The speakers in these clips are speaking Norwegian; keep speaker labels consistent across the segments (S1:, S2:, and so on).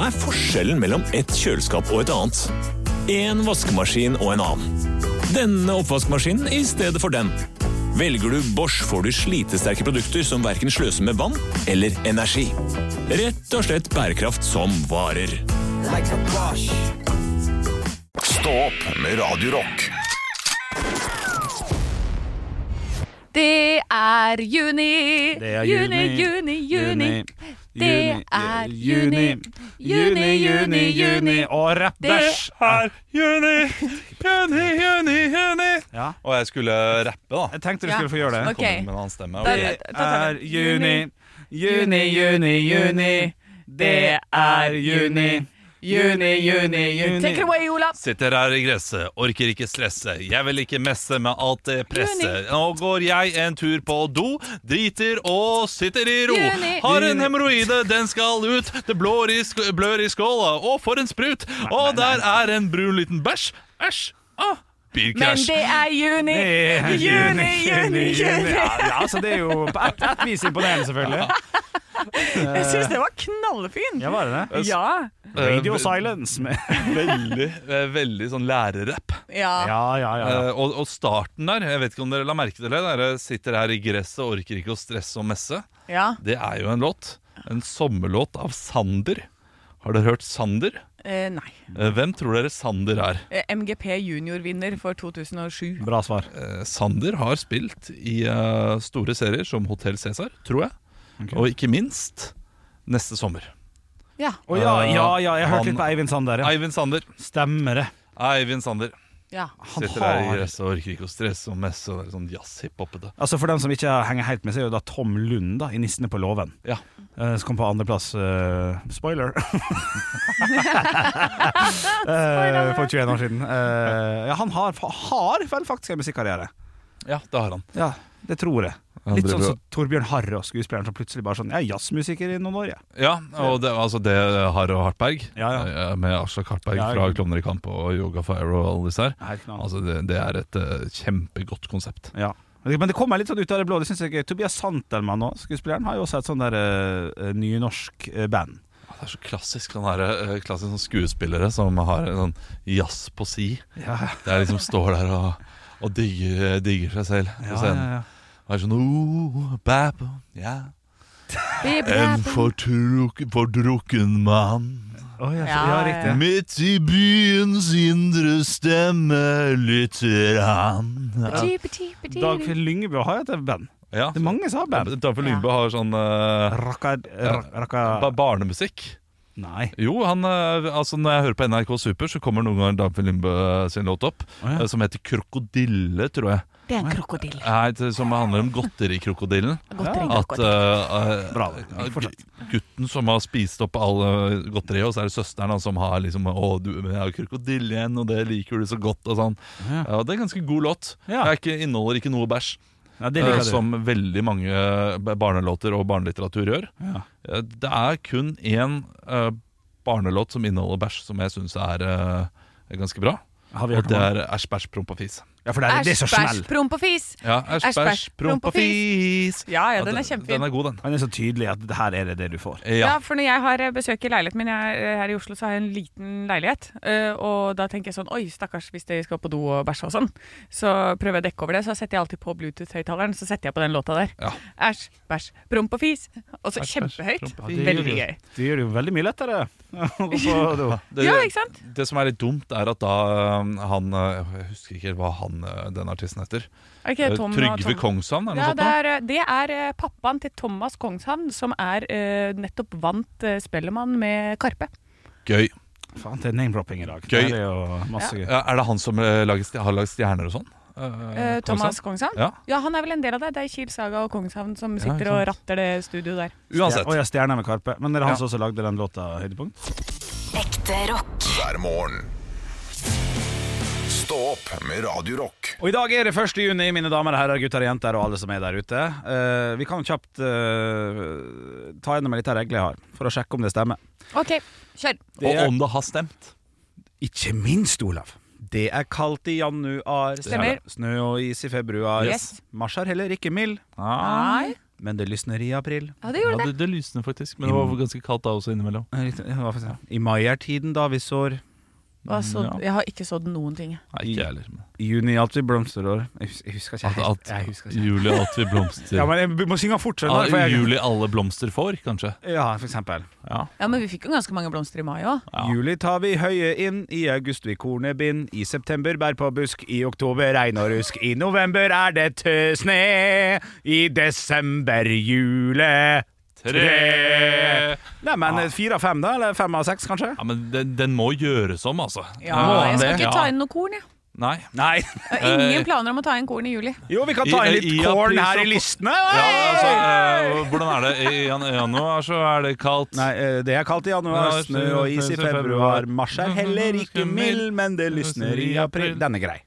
S1: er forskjellen mellom et kjøleskap og et annet? En vaskemaskin og en annen. Denne oppvaskmaskinen i stedet for den. Velger du Bosch, får du slitesterke produkter som verken sløser med vann eller energi. Rett og slett bærekraft som varer.
S2: Stå opp med Radio Rock.
S3: Det er juni.
S4: Det er
S3: juni, juni, juni.
S4: juni, juni,
S3: Det er juni.
S4: Juni, juni, juni. Og rappbæsj er
S5: Juni, juni, juni, juni.
S4: Ja.
S5: Og jeg skulle rappe, da.
S4: Jeg tenkte du
S3: Ja.
S4: skulle få gjøre det.
S3: Ok.
S5: Komme med en annen stemme.
S3: Da-
S4: Det
S3: da tar
S4: er
S3: vi.
S4: juni. Juni, juni, juni. Det er juni. Juni, juni, juni.
S3: Take it away, Olav.
S5: Sitter her i gresset, orker ikke stresse. Jeg vil ikke messe med alt det presset. Nå går jeg en tur på do, driter og sitter i ro.
S3: Juni.
S5: Har en hemoroide, den skal ut. Det blår i sk blør i skåla. Å, for en sprut! Og der er en brun liten bæsj. Æsj! Ah,
S3: Men
S5: Bilkrasj.
S3: det er juni.
S4: Det er
S3: Juni, juni, juni.
S4: Ja, ja, altså det er jo på ett et vis imponerende, selvfølgelig.
S3: Jeg syns det var knallfin.
S4: Ja, var det det?
S3: Ja.
S4: Radio Silence. Med.
S5: Eh, Veldig, eh, veldig sånn lærerrapp.
S3: ja.
S4: Ja, ja, ja.
S5: Eh, og, og starten der, jeg vet ikke om dere la merke til det, dere sitter her i gresset, orker ikke å stresse og messe.
S3: ja.
S5: Det er jo en låt. En sommerlåt av Sander. Har dere hørt Sander?
S3: Eh, nei.
S5: Eh, Hvem tror dere Sander er?
S3: Eh, MGP junior-vinner for 2007.
S4: Bra svar.
S5: Eh, Sander har spilt i eh, store serier som Hotell Cæsar, tror jeg. Og ikke minst neste sommer.
S3: Ja.
S4: Å ja, ja, ja, jeg
S5: Han-
S4: hørte litt på Eivind Sander. Ja.
S5: Eivind Sander.
S4: Stemmer det.
S5: Eivind Sander.
S3: ja.
S4: Han
S5: Sitter her i
S4: har-
S5: gresset og orker ikke å stresse og messe. Og det er sånn jazz-hiphopete.
S4: Altså For dem som ikke henger helt med, så er jo da Tom Lund da i 'Nissene på låven'.
S5: Ja.
S4: Eh, som kom på andreplass uh, Spoiler! Eh, for 21 år siden. Eh, ja, han har, har vel faktisk en musikkarriere.
S5: ja, det har han.
S4: Ja, det tror jeg.
S5: Han
S4: Litt
S5: driver
S4: sånn
S5: og-
S4: som Torbjørn Harre og skuespilleren som plutselig bare sånn Jeg er jazzmusiker i noen år, jeg.
S5: Ja, og det, altså det har og Hartberg,
S4: Ja,
S5: eh, med Aslak Hartberg
S4: Ja,
S5: fra
S4: ikke-
S5: Klovner i kamp og Yoga Fire og alle disse her.
S4: Ja. Helt knall.
S5: Altså det, det er et eh, kjempegodt konsept.
S4: Ja. Men det kommer litt sånn ut av det blå. Det synes jeg er gøy. Tobias Santelmann òg, skuespilleren, har jo også et sånn der eh, nynorsk eh, band.
S5: Ja, Det er så klassisk sånn her, eh, klassisk sånn skuespillere som har en sånn jazz på si. Det er liksom står der og, og digger, eh, digger seg selv på scenen. Og er sånn oh, bab, ja. En fordruk, fordrukken mann.
S4: Å, ja, så-
S3: Ja,
S4: ja,
S3: ja,
S4: riktig.
S3: ja.
S5: Midt i byens indre stemme lytter han.
S4: Dagfjell Lyngbø har jo et band.
S5: Ja,
S4: Det er mange som har band.
S5: Dagfjell Lyngbø har sånn eh,
S4: Rakka, rak- rakka
S5: ba barnemusikk.
S4: Nei.
S5: Jo, han, eh, altså når jeg hører på NRK Super, så kommer noen ganger Dagfjell Lyngbø eh, sin låt opp,
S4: Å, ja.
S5: eh, som heter 'Krokodille', tror jeg.
S3: Det er en krokodille.
S5: Nei, det- som handler om godterikrokodillen. At eh, eh,
S4: Bra. da. Fortsett.
S5: gutten som har spist opp all eh, godteriet, og så er det søsteren hans som har liksom 'Å, du men jeg har krokodille igjen, og det liker du så godt', og sånn.
S4: Ja.
S5: Ja, det er en ganske god låt.
S4: Ja.
S5: Det er ikke, inneholder ikke noe bæsj.
S4: Ja, det
S5: eh,
S4: liker du.
S5: som veldig mange b- barnelåter og barnelitteratur gjør.
S4: Ja.
S5: Eh, Det er kun én eh, barnelåt som inneholder bæsj, som jeg syns er eh, er ganske bra.
S4: Har vi
S5: Og
S4: hørt
S5: det
S4: om
S5: er æsj, bæsj, promp og fis.
S4: Ja, for det eh, er, det er så
S3: bæsj,
S4: smell.
S3: promp og fis.
S5: Ja, æsj, bæsj, promp og fis.
S3: Ja, ja, den er
S5: den- Den
S3: kjempefin.
S5: er god, den.
S4: Han er så tydelig at det her er det det du får.
S3: Ja,
S5: Ja.
S3: for når jeg har eh, besøk i leiligheten min, jeg er eh, her i Oslo, så har jeg en liten leilighet. eh, Og da tenker jeg sånn, oi, stakkars hvis de skal på do og bæsje og sånn. Så prøver jeg å dekke over det, så setter jeg alltid på Bluetooth-høyttaleren, så setter jeg på den låta der.
S5: Ja.
S3: Æsj, bæsj, promp og fis. Og så kjempehøyt.
S5: promp og
S4: fis.
S3: Veldig gøy.
S4: Det gjør det jo veldig mye lettere. å gå på do.
S5: Det,
S3: Ja, ikke sant?
S5: det som er litt dumt, er at da eh, han eh, Jeg husker ikke hva han eh, den artisten heter.
S3: Ok,
S5: Eh,
S3: Tom og
S5: Trygve
S3: Tom.
S5: Kongshavn, er det
S3: Ja,
S5: noe sånt?
S3: det
S5: nå?
S3: er, eh, det er eh, pappaen til Thomas Kongshavn, som er eh, nettopp vant eh, Spellemann med Karpe.
S5: Gøy.
S4: Faen, det er name-dropping i dag.
S5: Gøy.
S4: Det er jo masse gøy.
S5: Ja, er det han som eh, lager, stj- har lagd stjerner og sånn? Eh,
S3: Eh, Thomas Kongshavn?
S5: Ja.
S3: han er vel en del av det. Det er Kiel Saga og Kongshavn som
S5: Ja,
S3: sitter
S5: ikke
S3: og
S5: sant.
S3: ratter det studioet der.
S5: Uansett.
S4: Å ja, Stjerna med Karpe. Men det er han
S5: Ja.
S4: som også lagde den låta Høydepunkt?
S6: Ekte rock.
S2: hver morgen. Stå opp med Radio Rock.
S4: Og i dag er det 1. juni, mine damer og herrer, gutter og jenter og alle som er der ute. Eh, vi kan jo kjapt eh, ta gjennom en liten regle jeg har, for å sjekke om det stemmer.
S3: OK, kjør.
S4: Det er-
S5: Og om det har stemt.
S4: Ikke minst, Olav. Det er kaldt i januar.
S3: Stemmer.
S4: Snø og is i februar.
S3: Yes.
S4: Mars er heller ikke mild.
S3: Nei.
S4: men det lysner i april.
S3: Ja, det gjorde det.
S5: det, det lysner faktisk, men det var ganske kaldt da også innimellom.
S4: Eh, riktig, ja, hva får jeg si? I mai er tiden da vi sår.
S3: Hva så, jeg har ikke sådd noen ting.
S5: Nei, ikke jeg heller. men
S4: I juni alltid blomsterår. Jeg hus- jeg husker ikke
S5: At,
S4: helt. Jeg
S5: at
S4: husker ikke.
S5: juli alltid blomster.
S4: Ja, men jeg b- må synge fort.
S5: Ah,
S4: skjønner du, for jeg-
S5: juli alle blomster får, kanskje.
S4: Ja, for eksempel.
S5: Ja.
S3: Ja, Men vi fikk jo ganske mange blomster i mai òg.
S5: Ja.
S4: Juli tar vi høye inn, i august vi kornebind, i september bær på busk, i oktober regn og rusk, i november er det tø- sne, i desember jule. Tre. Nei, men
S5: Ah.
S4: eh, fire av fem da, eller fem av seks kanskje?
S5: Ja, men den, den må gjøres om, altså.
S3: Ja, jeg skal ikke ta inn noe korn, jeg.
S5: Nei.
S4: Nei.
S3: Jeg har
S5: Eh.
S3: Ingen planer om å ta inn korn i juli.
S4: Jo, vi kan ta inn
S5: I-
S4: litt
S5: i
S4: korn
S5: april så
S4: her i
S5: får-
S4: listene.
S5: Ja,
S4: Oi!
S5: altså, eh, hvordan er det? I jan januar så er det kaldt.
S4: Nei, eh, det er kaldt i januar,
S5: Ja,
S4: snø og is i februar. Mars er heller ikke mild, men det lysner i april. Den er grei.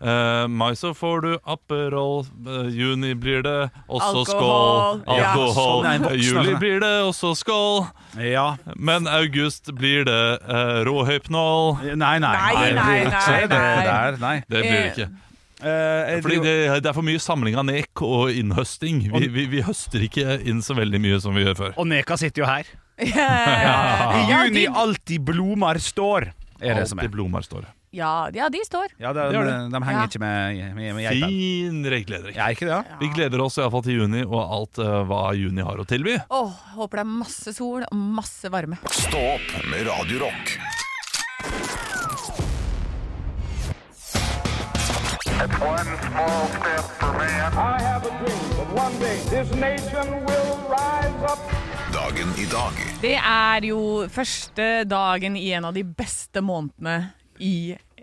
S5: Eh, mai så får du Aperol, eh, juni blir det, og så
S3: Alkohol.
S5: skål.
S3: Ja,
S5: Alkohol.
S4: sånn er en voksen,
S5: Juli
S4: altså.
S5: blir det, og så skål.
S4: Ja.
S5: Men august blir det eh, råhypnol.
S4: Nei, nei.
S3: Nei, nei,
S4: det blir ikke
S3: nei,
S4: det
S3: nei.
S4: der, nei.
S5: Det blir det ikke.
S4: Eh, jeg
S5: Fordi
S4: tror-
S5: det, det er for mye samling av nek og innhøsting. Vi, vi, vi høster ikke inn så veldig mye som vi gjør før.
S4: Og Neka sitter jo her. I
S3: Ja,
S4: juni
S3: de,
S4: alltid blomar står, er det som er.
S5: Alltid blomster står det.
S3: ja, ja, de står.
S4: Ja, de,
S5: gjør
S4: de, henger
S3: Ja.
S4: ikke med, med, med geitene.
S5: Fin reglering.
S4: Ja, ikke det?
S5: Vi gleder oss iallfall til juni og alt eh, hva juni har å tilby.
S3: Åh, håper det er masse sol og masse varme.
S2: Stå opp med Radio Rock.
S7: I have a dream that one day this nation will rise up.
S2: Dagen i dag.
S3: Det er jo første dagen i en av de beste månedene i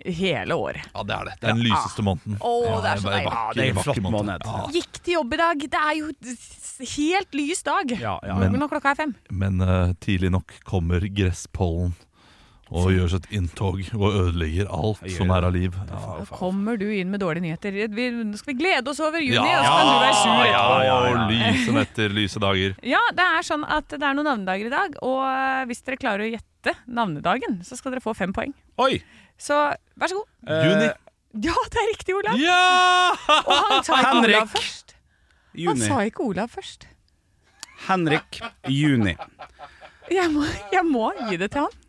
S3: hele året.
S5: Ja, det er det. Det er den lyseste måneden.
S3: Åh, det er så
S5: bare
S3: deilig.
S5: vakker,
S4: det er en
S5: vakker
S4: flott måned.
S5: Ja,
S3: Gikk til jobb i dag. Det er jo s- helt lys dag.
S4: Ja, ja, ja.
S5: Men-
S3: Når klokka er fem.
S5: Men eh, tidlig nok kommer gresspollen og gjør sitt inntog og ødelegger alt som er av liv. Ja,
S3: Da kommer du inn med dårlige nyheter. Vi, nå skal vi glede oss over juni,
S5: ja,
S3: og så kan du være sur.
S5: ja,
S3: etterpå.
S5: ja, lyse netter, lyse dager.
S3: Ja, det er sånn at det er noen navnedager i dag, og eh, hvis dere klarer å gjette navnedagen, så skal dere få fem poeng.
S4: Oi!
S3: Så vær så god.
S5: Eh, Juni.
S3: Ja, det er riktig, Olav!
S5: Ja!
S3: Og han sa ikke
S4: Henrik.
S3: Olav først. Han
S4: Juni.
S3: sa ikke Olav først.
S4: Henrik Juni.
S3: Jeg må, jeg må gi det til han.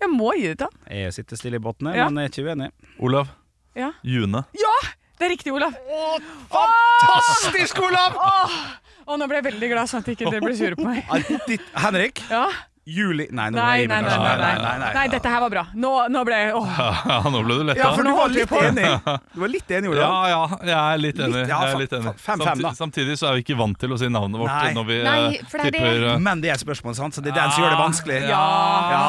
S3: Jeg må gi det til han.
S4: Jeg sitter stille i båten,
S3: Ja.
S4: men jeg er ikke uenig.
S5: Olav.
S3: Ja.
S5: June.
S3: Ja! Det er riktig, Olav.
S4: Fantastisk, Olav!
S3: Og nå ble jeg veldig glad, sånn at ikke dere blir sure på meg.
S4: Henrik
S3: Ja.
S4: Juli Nei, nå
S3: Nei,
S4: er jeg
S3: nei, nei, nei, nei, nei, nei. dette her var bra. Nå, nå ble jeg åh.
S5: Nå ble du letta.
S4: Ja, for du
S3: Nå
S4: var
S3: holdt vi
S4: litt
S3: på.
S4: enig. Du var litt enig,
S5: Ja,
S4: Olav.
S5: ja, jeg er litt enig.
S4: Litt, ja,
S5: Jeg er
S4: fa-
S5: litt enig.
S4: fa- fem- fem, da.
S5: Samtidig, samtidig så er vi ikke vant til å si navnet vårt
S4: Nei.
S5: når vi eh,
S6: Nei, for det er det.
S5: tipper eh,
S4: Men det er et spørsmål, sant? så det er den som gjør det vanskelig.
S3: Ja.
S4: Ja.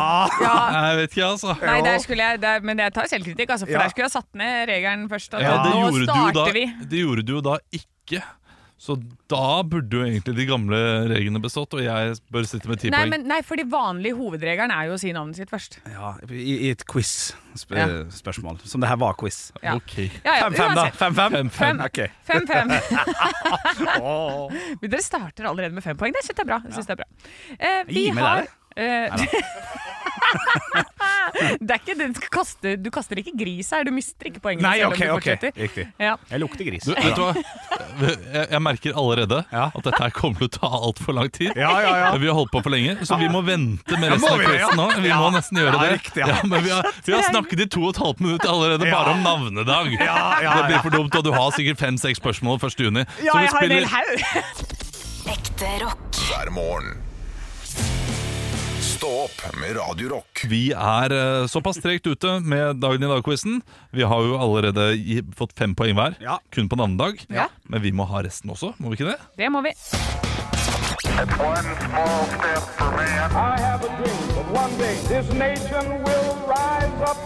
S3: ja.
S5: Jeg vet ikke, altså.
S3: Nei, der skulle jeg, der, men jeg tar selvkritikk, altså, for
S4: Ja.
S3: der skulle jeg ha satt ned regelen først. At
S5: Ja, det,
S3: nå
S5: gjorde du jo da,
S3: starter vi.
S5: det gjorde du jo da ikke. Så da burde jo egentlig de gamle reglene bestått, og jeg bør sitte med ti
S3: Nei,
S5: poeng.
S3: men, nei, fordi vanlig hovedregelen er jo å si navnet sitt først.
S4: Ja, i, I et quiz-spørsmål, som det her var quiz.
S3: Ja.
S5: Ok.
S3: Ja, ja,
S4: 5-5, da.
S3: uansett.
S4: 5-5.
S3: Fem.
S4: Ok.
S3: Fem, fem. Men Dere starter allerede med fem poeng. Det syns jeg er bra. Jeg synes det er bra. Eh, vi
S4: Gi meg
S3: har
S4: det.
S3: eh, det er ikke det du kaster, du kaster ikke gris her, du mister ikke poengene
S4: Nei,
S3: selv om
S4: ok,
S3: du
S4: ok.
S3: fortsetter.
S4: Riktig.
S3: Ja.
S4: Jeg lukter gris.
S5: Du, vet du hva? Jeg, jeg merker allerede
S4: Ja.
S5: at dette her kommer til å ta altfor lang tid.
S4: Ja, ja, ja.
S5: Vi har holdt på for lenge, så vi må vente med
S4: Ja,
S5: resten
S4: må
S5: av
S4: vi det, ja?
S5: quizen nå. Vi
S4: Ja.
S5: må nesten gjøre
S4: Ja,
S5: det.
S4: riktig, ja.
S5: men vi har, vi har snakket i to og et halvt minutt allerede bare om navnedag.
S4: ja,
S5: Det blir for dumt, og du har sikkert fem-seks spørsmål 1. juni.
S3: Ja, jeg
S5: Så vi
S3: har en
S5: spiller-
S3: hel haug.
S6: Ekte rock.
S2: Hver morgen. Stå opp med Radio Rock.
S5: Vi er eh, såpass tregt ute med Dagen i dag-quizen. Vi har jo allerede gi, fått fem poeng hver,
S4: Ja.
S5: kun på navnedag.
S3: Ja.
S5: Men vi må ha resten også, må vi ikke det?
S3: Det må vi.
S7: I have a dream that one day this nation will rise up.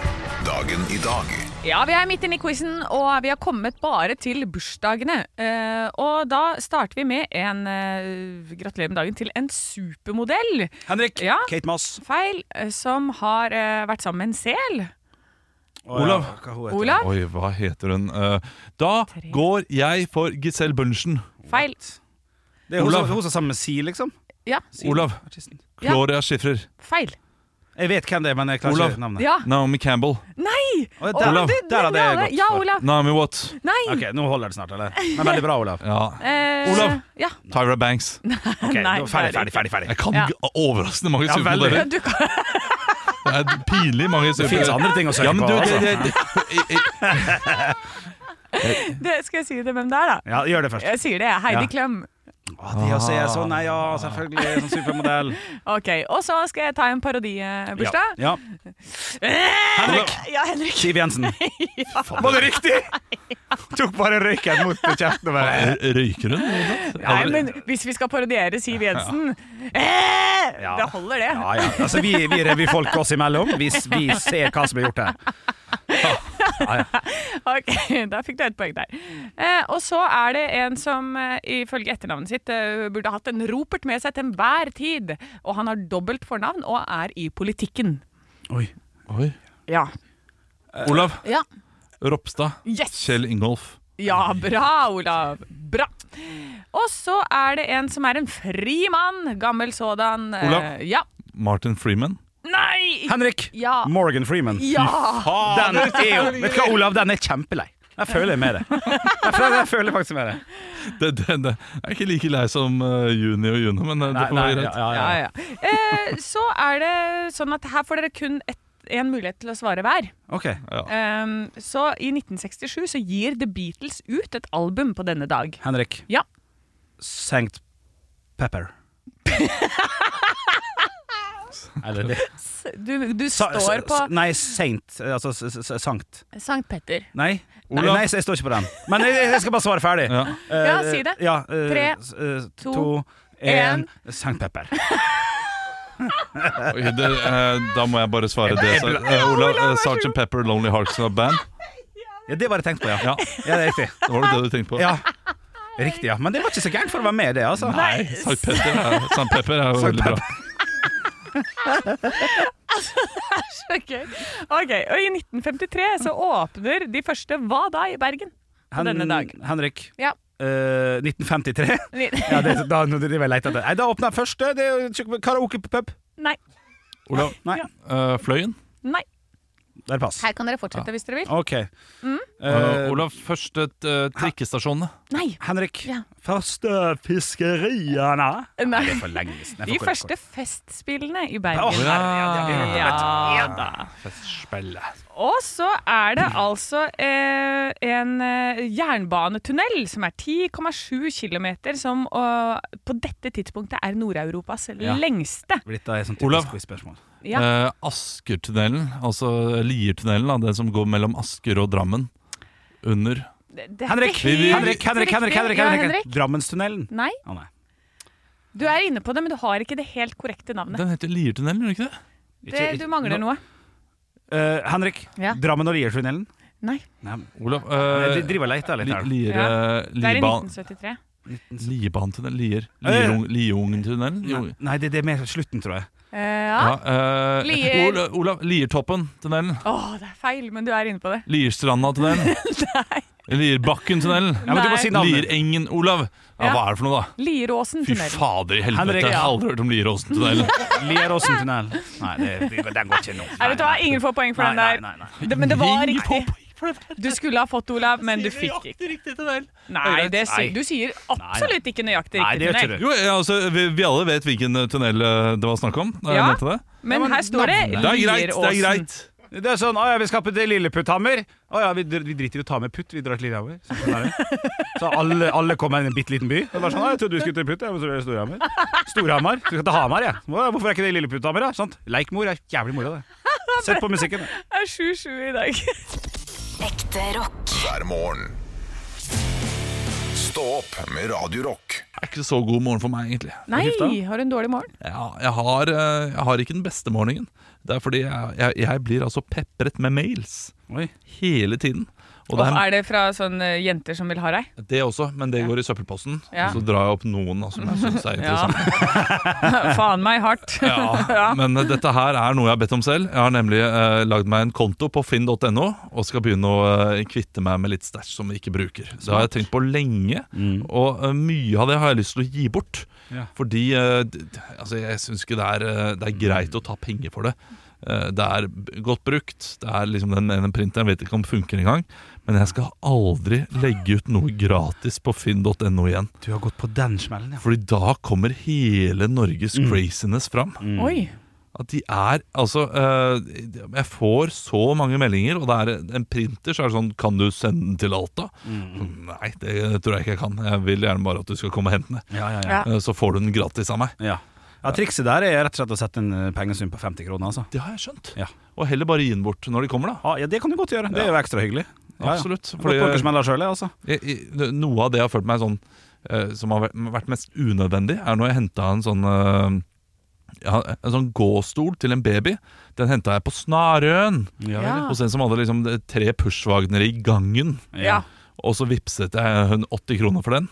S2: Dagen i dag.
S3: Ja, vi er midt inne i quizen, og vi har kommet bare til bursdagene. Eh, og da starter vi med en eh, Gratulerer med dagen til en supermodell.
S4: Henrik.
S3: Ja.
S4: Kate Moss.
S3: Feil eh, som har eh, vært sammen med en sel.
S4: Å, ja.
S5: Olav.
S4: Hva hun heter.
S3: Olav.
S5: Oi, hva heter hun? Eh, da går jeg for Giselle Bunchen.
S3: Feil.
S4: Det er hun som-
S5: Olav.
S4: hun som er sammen med Si, liksom.
S3: Ja,
S4: Si.
S5: Olav.
S4: Artisten.
S5: Gloria Schiffer.
S3: feil.
S4: Jeg vet hvem det er, men jeg klarer
S5: Olav.
S4: ikke navnet.
S3: Ja.
S5: Naomi Campbell.
S3: Nei! Nei!
S4: Å,
S3: Å,
S4: der-
S3: men du,
S4: der hadde
S3: bra,
S4: jeg
S3: det.
S4: gått
S3: Ja,
S4: for.
S3: Olav.
S5: Naomi Watts.
S3: Nei!
S4: Ok, Nå holder det snart, eller? Men veldig bra, Olav.
S5: Ja.
S3: Eh,
S5: Olav.
S3: Ja.
S5: Tyra Banks.
S4: Ok,
S3: Nei,
S4: nå, ferdig,
S3: det er
S4: ferdig, ferdig, ferdig.
S5: Jeg kan
S3: Ja.
S5: g- overraskende mange
S4: Ja,
S5: supermodeller.
S4: veldig.
S3: Du kan,
S5: Det er pinlig mange
S4: Det finnes
S5: supermodeller.
S4: andre ting å søke
S5: Ja, men
S4: på.
S5: du, det,
S4: altså.
S5: det, det, jeg- jeg-
S3: det, skal jeg si det hvem det er, da?
S4: Ja, gjør det først.
S3: Jeg sier det. Heidi
S4: Ja.
S3: Klem.
S4: Å, de også er sånn, nei, ja, selvfølgelig, sånn supermodell.
S3: Ok, Og så skal jeg ta en parodibursdag.
S4: Ja. Henrik.
S3: Eh, Ja, Henrik.
S4: Siv Jensen. Var det riktig? Tok bare røyken mot kjeften. og bare-
S5: r- Røyker hun?
S3: Nei, men hvis vi skal parodiere Siv Jensen eh,
S4: Ja.
S3: Det holder, det.
S4: Ja, ja. Altså, vi, vi revyfolk oss imellom. Vi, vi ser hva som blir gjort her. Ah,
S3: Ok, Da fikk du et poeng der. Eh, og så er det en som eh, ifølge etternavnet sitt eh, burde hatt en ropert med seg til enhver tid. Og han har dobbelt fornavn og er i politikken.
S4: Oi.
S5: Oi.
S3: Ja.
S4: Eh.
S5: Olav
S3: Ja.
S5: Ropstad.
S3: Yes!
S5: Kjell Ingolf.
S3: Ja, bra, Olav. Bra. Og så er det en som er en fri mann. Gammel sådan. Eh,
S5: Olav?
S3: Ja.
S5: Martin Freeman.
S3: Nei!
S4: Henrik.
S3: Ja.
S4: Morgan Freeman. Mm.
S3: Ja!
S4: Den er jo, vet du hva, Olav, den er kjempelei. Jeg føler med det. Jeg føler, jeg føler faktisk med det.
S5: Det, det, det. Jeg er ikke like lei som eh, Juni og Juno, men eh, det
S4: Nei,
S5: får
S4: nei,
S5: være
S4: ja,
S5: greit.
S4: ja, ja.
S3: ja, ja. Eh, så er det sånn at her får dere kun ett en mulighet til å svare hver.
S4: Ok.
S3: Um, så i 1967 så gir The Beatles ut et album på denne dag.
S4: Henrik.
S3: Ja.
S4: Sankt Pepper. Eller det
S3: Du, du
S4: Sa-
S3: står
S4: s-
S3: på
S4: s- Nei, Saint. Altså s- s- s- Sankt.
S3: Sankt Petter.
S4: Nei.
S5: Olav.
S4: Nei, jeg står ikke på den. Men jeg, jeg skal bare svare ferdig.
S5: Ja.
S4: Eh,
S3: Ja, si det.
S4: ja, eh,
S3: Tre,
S4: s- eh,
S3: to,
S4: to,
S3: en.
S4: en Sankt Pepper.
S5: Ok, det, eh, da må jeg bare svare det. Så, eh, Olav, eh, Sgt. Pepper, Lonely Hearts Club Band.
S4: Ja, det var det jeg tenkte på, ja.
S5: Ja.
S4: Ja, det er riktig.
S5: Var det det du tenkte på?
S4: Ja. Riktig, ja. Men det var ikke så gærent for å være med, det, altså.
S5: Nei, Sankt Pepper er, Sankt Pepper er jo
S4: Sankt
S5: veldig bra.
S3: Ok, ok, Og i 1953 så åpner de første Hva da i Bergen på
S4: Hen-
S3: denne dag.
S4: Henrik.
S3: Ja.
S4: eh, 1953.
S3: Ni-
S4: Ja, det, da nå driver jeg og leter etter. Nei, da åpna jeg første. Det er jo karaokepub.
S3: Nei.
S5: Olav,
S4: Nei,
S5: eh, Fløyen.
S3: Nei.
S4: der pass.
S3: Her Mm. kan dere fortsette hvis dere vil.
S4: OK.
S5: Eh,
S4: Eh,
S5: Olav, første eh, trikkestasjonene.
S3: Nei.
S4: Henrik.
S3: Ja.
S4: Første fiskeriene.
S3: Nei.
S4: Det er for lenge siden. Det er
S3: De
S4: for kort,
S3: første festspillene i
S4: kort. Å,
S3: Bergen.
S4: herre, ja,
S3: Ja da.
S4: Festspillet.
S3: Og så er det altså eh, en eh, jernbanetunnel som er 10,7 km, som eh, på dette tidspunktet er Nord-Europas lengste.
S4: Dette er sånn
S5: Olav.
S4: typisk quiz-spørsmål.
S3: Ja.
S5: Eh, Askertunnelen, altså Liertunnelen, da, den som går mellom Asker og Drammen. Under.
S3: det- det er
S4: Henrik!
S3: ikke helt
S4: Henrik, Henrik,
S3: riktig.
S4: Henrik, Henrik,
S3: Ja,
S4: Henrik. Drammenstunnelen.
S3: Nei,
S4: Å, nei.
S3: du er inne på det, men du har ikke det helt korrekte navnet.
S5: Den heter Liertunnelen, gjør den ikke det?
S3: Det, du mangler noe.
S4: Eh, Henrik.
S3: Ja.
S4: Drammen og Liertunnelen.
S3: Nei,
S4: Nei,
S5: Olav,
S4: jeg
S5: eh,
S4: driver og leter litt
S5: Li-
S4: her.
S5: Lier,
S3: Ja. det er i
S5: Liban,
S3: 1973.
S5: Libantunnelen? Lier?
S4: Eh.
S5: Lierung- Lierungentunnelen?
S4: Nei,
S5: Jo.
S4: nei, det, det er mer slutten, tror jeg.
S3: Eh, ja.
S5: Ja, eh,
S3: Lier.
S5: Ola- Olav, Liertoppen-tunnelen.
S3: Å, det er feil, men du er inne på det.
S5: Lierstranda-tunnelen. Lierbakken-tunnelen.
S4: Ja, men du må
S3: Nei.
S4: si navnet.
S5: Lierengen, Olav. Ja,
S3: Ja.
S5: hva er det for noe, da?
S3: Lieråsen
S5: Fy
S3: tunnel.
S5: fader i helvete,
S4: Henrik,
S5: jeg har
S4: ja.
S5: aldri hørt om Lieråsen-tunnelen.
S4: Lieråsen-tunnel. Nei, det, det, den går ikke nå.
S3: Nei, vet du hva, Ingen får poeng for den der.
S4: Nei, nei, nei.
S3: Det, men det var
S5: Ingen får
S3: riktig. Du skulle ha fått Olav, men du fikk ikke. Nei, det
S4: Nei.
S3: sier, du sier absolutt ikke nøyaktig
S4: Nei, det
S3: riktig
S4: gjør ikke
S3: tunnel.
S5: Jo, ja, altså, vi, vi alle vet hvilken eh, tunnel eh, det var snakk om. da jeg
S3: Ja.
S5: nevnte det.
S3: Men
S4: Ja, men
S3: her står det
S5: Det er greit. det er
S3: Lieråsen.
S5: greit
S4: Det er sånn, å ja, vi skal på til Lilleputthammer. Å ja, vi, dr- vi driter i å ta med putt, vi drar til Lillehammer. Så, sånn er det. så alle, alle kommer inn i en bitte liten by. Og det var sånn, å, jeg trodde vi skulle til Putt, ja, men så ble det Storhamar. Storhamar. Så vi skal til Hamar, ja. Å, hvorfor er ikke det Lilleputthammer, da? Sant? Leikmor er jævlig moro, det. Sett på musikken.
S3: Det er 7-7 i dag.
S6: Ekte rock.
S2: hver morgen. Stå opp med Radio Rock.
S5: Det er ikke så god morgen for meg, egentlig.
S3: Nei, har du en dårlig morgen?
S5: Ja, jeg, har, eh, jeg har ikke den beste morgenen. Det er fordi jeg, jeg, jeg blir altså pepret med mails
S4: Oi.
S5: hele tiden. Og det
S3: Og
S5: er,
S3: er det fra sånne jenter som vil ha deg?
S5: det også, men det går i søppelposten.
S3: Ja.
S5: Og så drar jeg opp noen da, som jeg syns er
S3: Ja.
S5: interessante.
S3: Faen meg hardt.
S5: Ja, men eh, dette her er noe jeg har bedt om selv. Jeg har nemlig eh, lagd meg en konto på finn.no og skal begynne å eh, kvitte meg med litt stæsj som vi ikke bruker. Det har jeg tenkt på lenge, og eh, mye av det har jeg lyst til å gi bort.
S4: Ja.
S5: Fordi eh, d- d- altså, jeg syns ikke det er, eh, det er greit å ta penger for det. eh, det er b- godt brukt. Det er liksom den, den printeren vet ikke om funker engang. Men jeg skal aldri legge ut noe gratis på finn.no igjen.
S4: Du har gått på den smellen, ja.
S5: Fordi da kommer hele Norges craziness fram.
S3: Oi.
S5: At de er Altså, eh, jeg får så mange meldinger, og det er en printer, så er det sånn Kan du sende den til Alta?
S4: Mm.
S5: Nei, det tror jeg ikke jeg kan. Jeg vil gjerne bare at du skal komme og hente den.
S4: Ja, ja, ja.
S3: Ja.
S5: Eh, Så får du den gratis av meg.
S4: ja. ja Trikset der er rett og slett å sette en eh, pengesum på 50 kroner, altså.
S5: Det har jeg skjønt.
S4: Ja.
S5: Og heller bare gi den bort når de kommer, da.
S4: Ah, ja, det kan du godt gjøre. Det er jo ekstra hyggelig. Ja, ja.
S5: Absolutt,
S4: Godt
S5: fordi-
S4: dere smeller selv, ja, altså.
S5: Jeg, jeg, noe av det jeg har følt meg sånn eh, som har vært- vært mest unødvendig, er når jeg henta en sånn eh, ja, En sånn gåstol til en baby. Den henta jeg på Snarøen
S3: Ja.
S5: hos en som hadde liksom tre pushwagnere i gangen.
S3: Ja.
S5: Og så vippset jeg hun 80 kroner for den.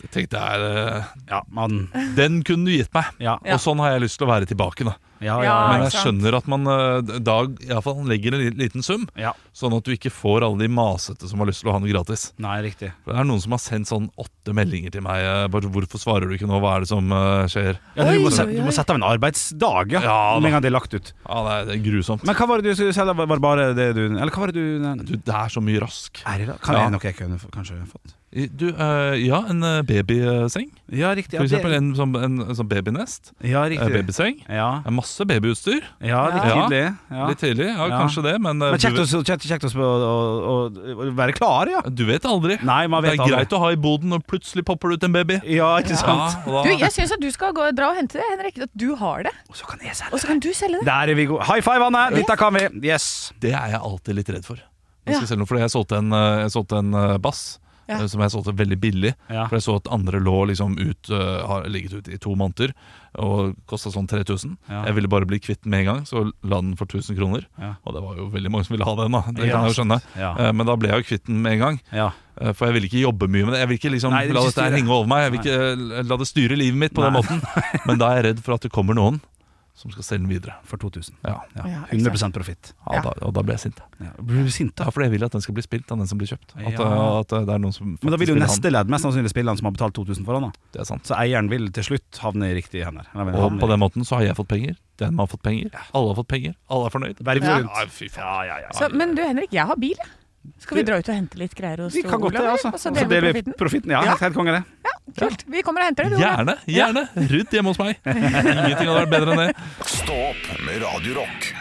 S5: Det tenkte jeg eh,
S4: Ja, man
S5: Den kunne du gitt meg.
S4: Ja,
S3: Ja.
S5: Og sånn har jeg lyst til å være tilbake. da
S4: ja,
S3: Ja,
S4: ja.
S5: Men
S3: ikke
S5: jeg
S3: sant.
S5: skjønner at man eh, da i alle fall legger en li- liten sum,
S4: ja.
S5: sånn at du ikke får alle de masete som har lyst til å ha noe gratis.
S4: Nei, riktig.
S5: For Det er noen som har sendt sånn åtte meldinger til meg. eh, Bare 'Hvorfor svarer du ikke nå? Hva er det som eh, skjer?'
S4: Ja, du,
S3: Oi,
S4: må
S3: oi,
S4: sette, du må
S3: oi.
S4: sette av en arbeidsdag, ja.
S5: Ja, da.
S4: Med en gang det er lagt ut.
S5: Ja, det er, det er grusomt.
S4: Men hva var det du skulle selge? Var det bare det du Eller hva var det du,
S5: Du, det er så mye rask.
S4: Er det da? Kan
S5: Ja.
S4: jeg noe jeg kunne få- kanskje fått?
S5: I- Du, eh, ja, en eh, babyseng.
S4: Ja, riktig.
S5: For eksempel en, sånn- en, en sånn babynest.
S4: ja,
S5: eh,
S4: riktig.
S5: Babyseng.
S4: Ja,
S5: Det er masse babyutstyr.
S4: ja litt
S5: Ja.
S4: tidlig. Ja.
S5: Litt tidlig, ja,
S4: Ja.
S5: kanskje det, men, eh,
S4: Men kjekt
S5: du,
S4: oss, kjekt, kjekt oss på å, å, å være klare, ja.
S5: vet- du vet aldri.
S4: altså. Nei, man vet
S5: det er greit å ha i boden når plutselig popper det ut en baby.
S4: Ja, ikke sant?
S5: og
S3: Du,
S5: da-
S3: jeg syns at du skal gå, dra og hente det, Henrik. At du har det.
S4: Og så kan jeg selge.
S3: Og så kan du selge det.
S4: Der er vi gode. High five, Anne! Dette kan vi. Yes.
S5: Det er jeg alltid litt redd for. Jeg skal
S3: Ja.
S5: selge noe, fordi jeg solgte en, eh, jeg solgte en eh, bass
S3: Ja.
S5: eh, som jeg solgte veldig billig.
S4: Ja.
S5: For jeg så at andre lå liksom ut, eh, har ligget ute i to måneder og kosta sånn 3000.
S4: Ja.
S5: Jeg ville bare bli kvitt den med en gang, så la den for 1000 kroner.
S4: Ja.
S5: Og det var jo veldig mange som ville ha den, da. Det
S4: Ja.
S5: kan jeg jo skjønne.
S4: Ja.
S5: Eh, Men da ble jeg jo kvitt den med en gang.
S4: Ja.
S5: eh, For jeg ville ikke jobbe mye med det. Jeg vil ikke liksom
S4: Nei, det vil
S5: la
S4: ikke
S5: dette her
S4: styre.
S5: henge over meg. Jeg vil ikke eh, la det styre livet mitt på
S4: Nei.
S5: den måten. Men da er jeg redd for at det kommer noen som skal selge den videre.
S4: For 2000.
S5: Ja,
S4: Ja.
S3: Ja, ikke
S4: 100 profitt.
S5: ja. Da, og da ble jeg sint.
S4: Ja. Blir du sint,
S5: Ja,
S4: da?
S5: for jeg vil at den skal bli spilt av den som blir kjøpt. At, eh,
S4: Ja.
S5: at det er noen som
S4: Men da vil jo
S5: faktisk
S4: neste ledd mest sannsynlig spille han som har betalt 2000 for han. da
S5: ha den. Det er sant.
S4: Så eieren vil til slutt havne i riktige hender. Eller, vil
S5: Og
S4: havne i-
S5: på den måten så har jeg fått penger, den har fått penger, alle har fått penger, alle er fornøyd.
S4: Verv
S3: Ja.
S4: rundt. Ja, ja, ja.
S3: Så, men du, Henrik, jeg har bil, jeg. Skal vi dra ut og hente litt greier hos
S4: Vi kan godt det,
S3: eller?
S4: altså.
S3: Og så deler vi profitten?
S4: profitten. Ja, helt, helt konge, det.
S3: Ja, kult. Vi kommer og henter det. du, Olav.
S5: Gjerne, gjerne! Rydd hjemme hos meg. Ingenting hadde vært bedre enn det.
S2: Stå opp med Radio Rock.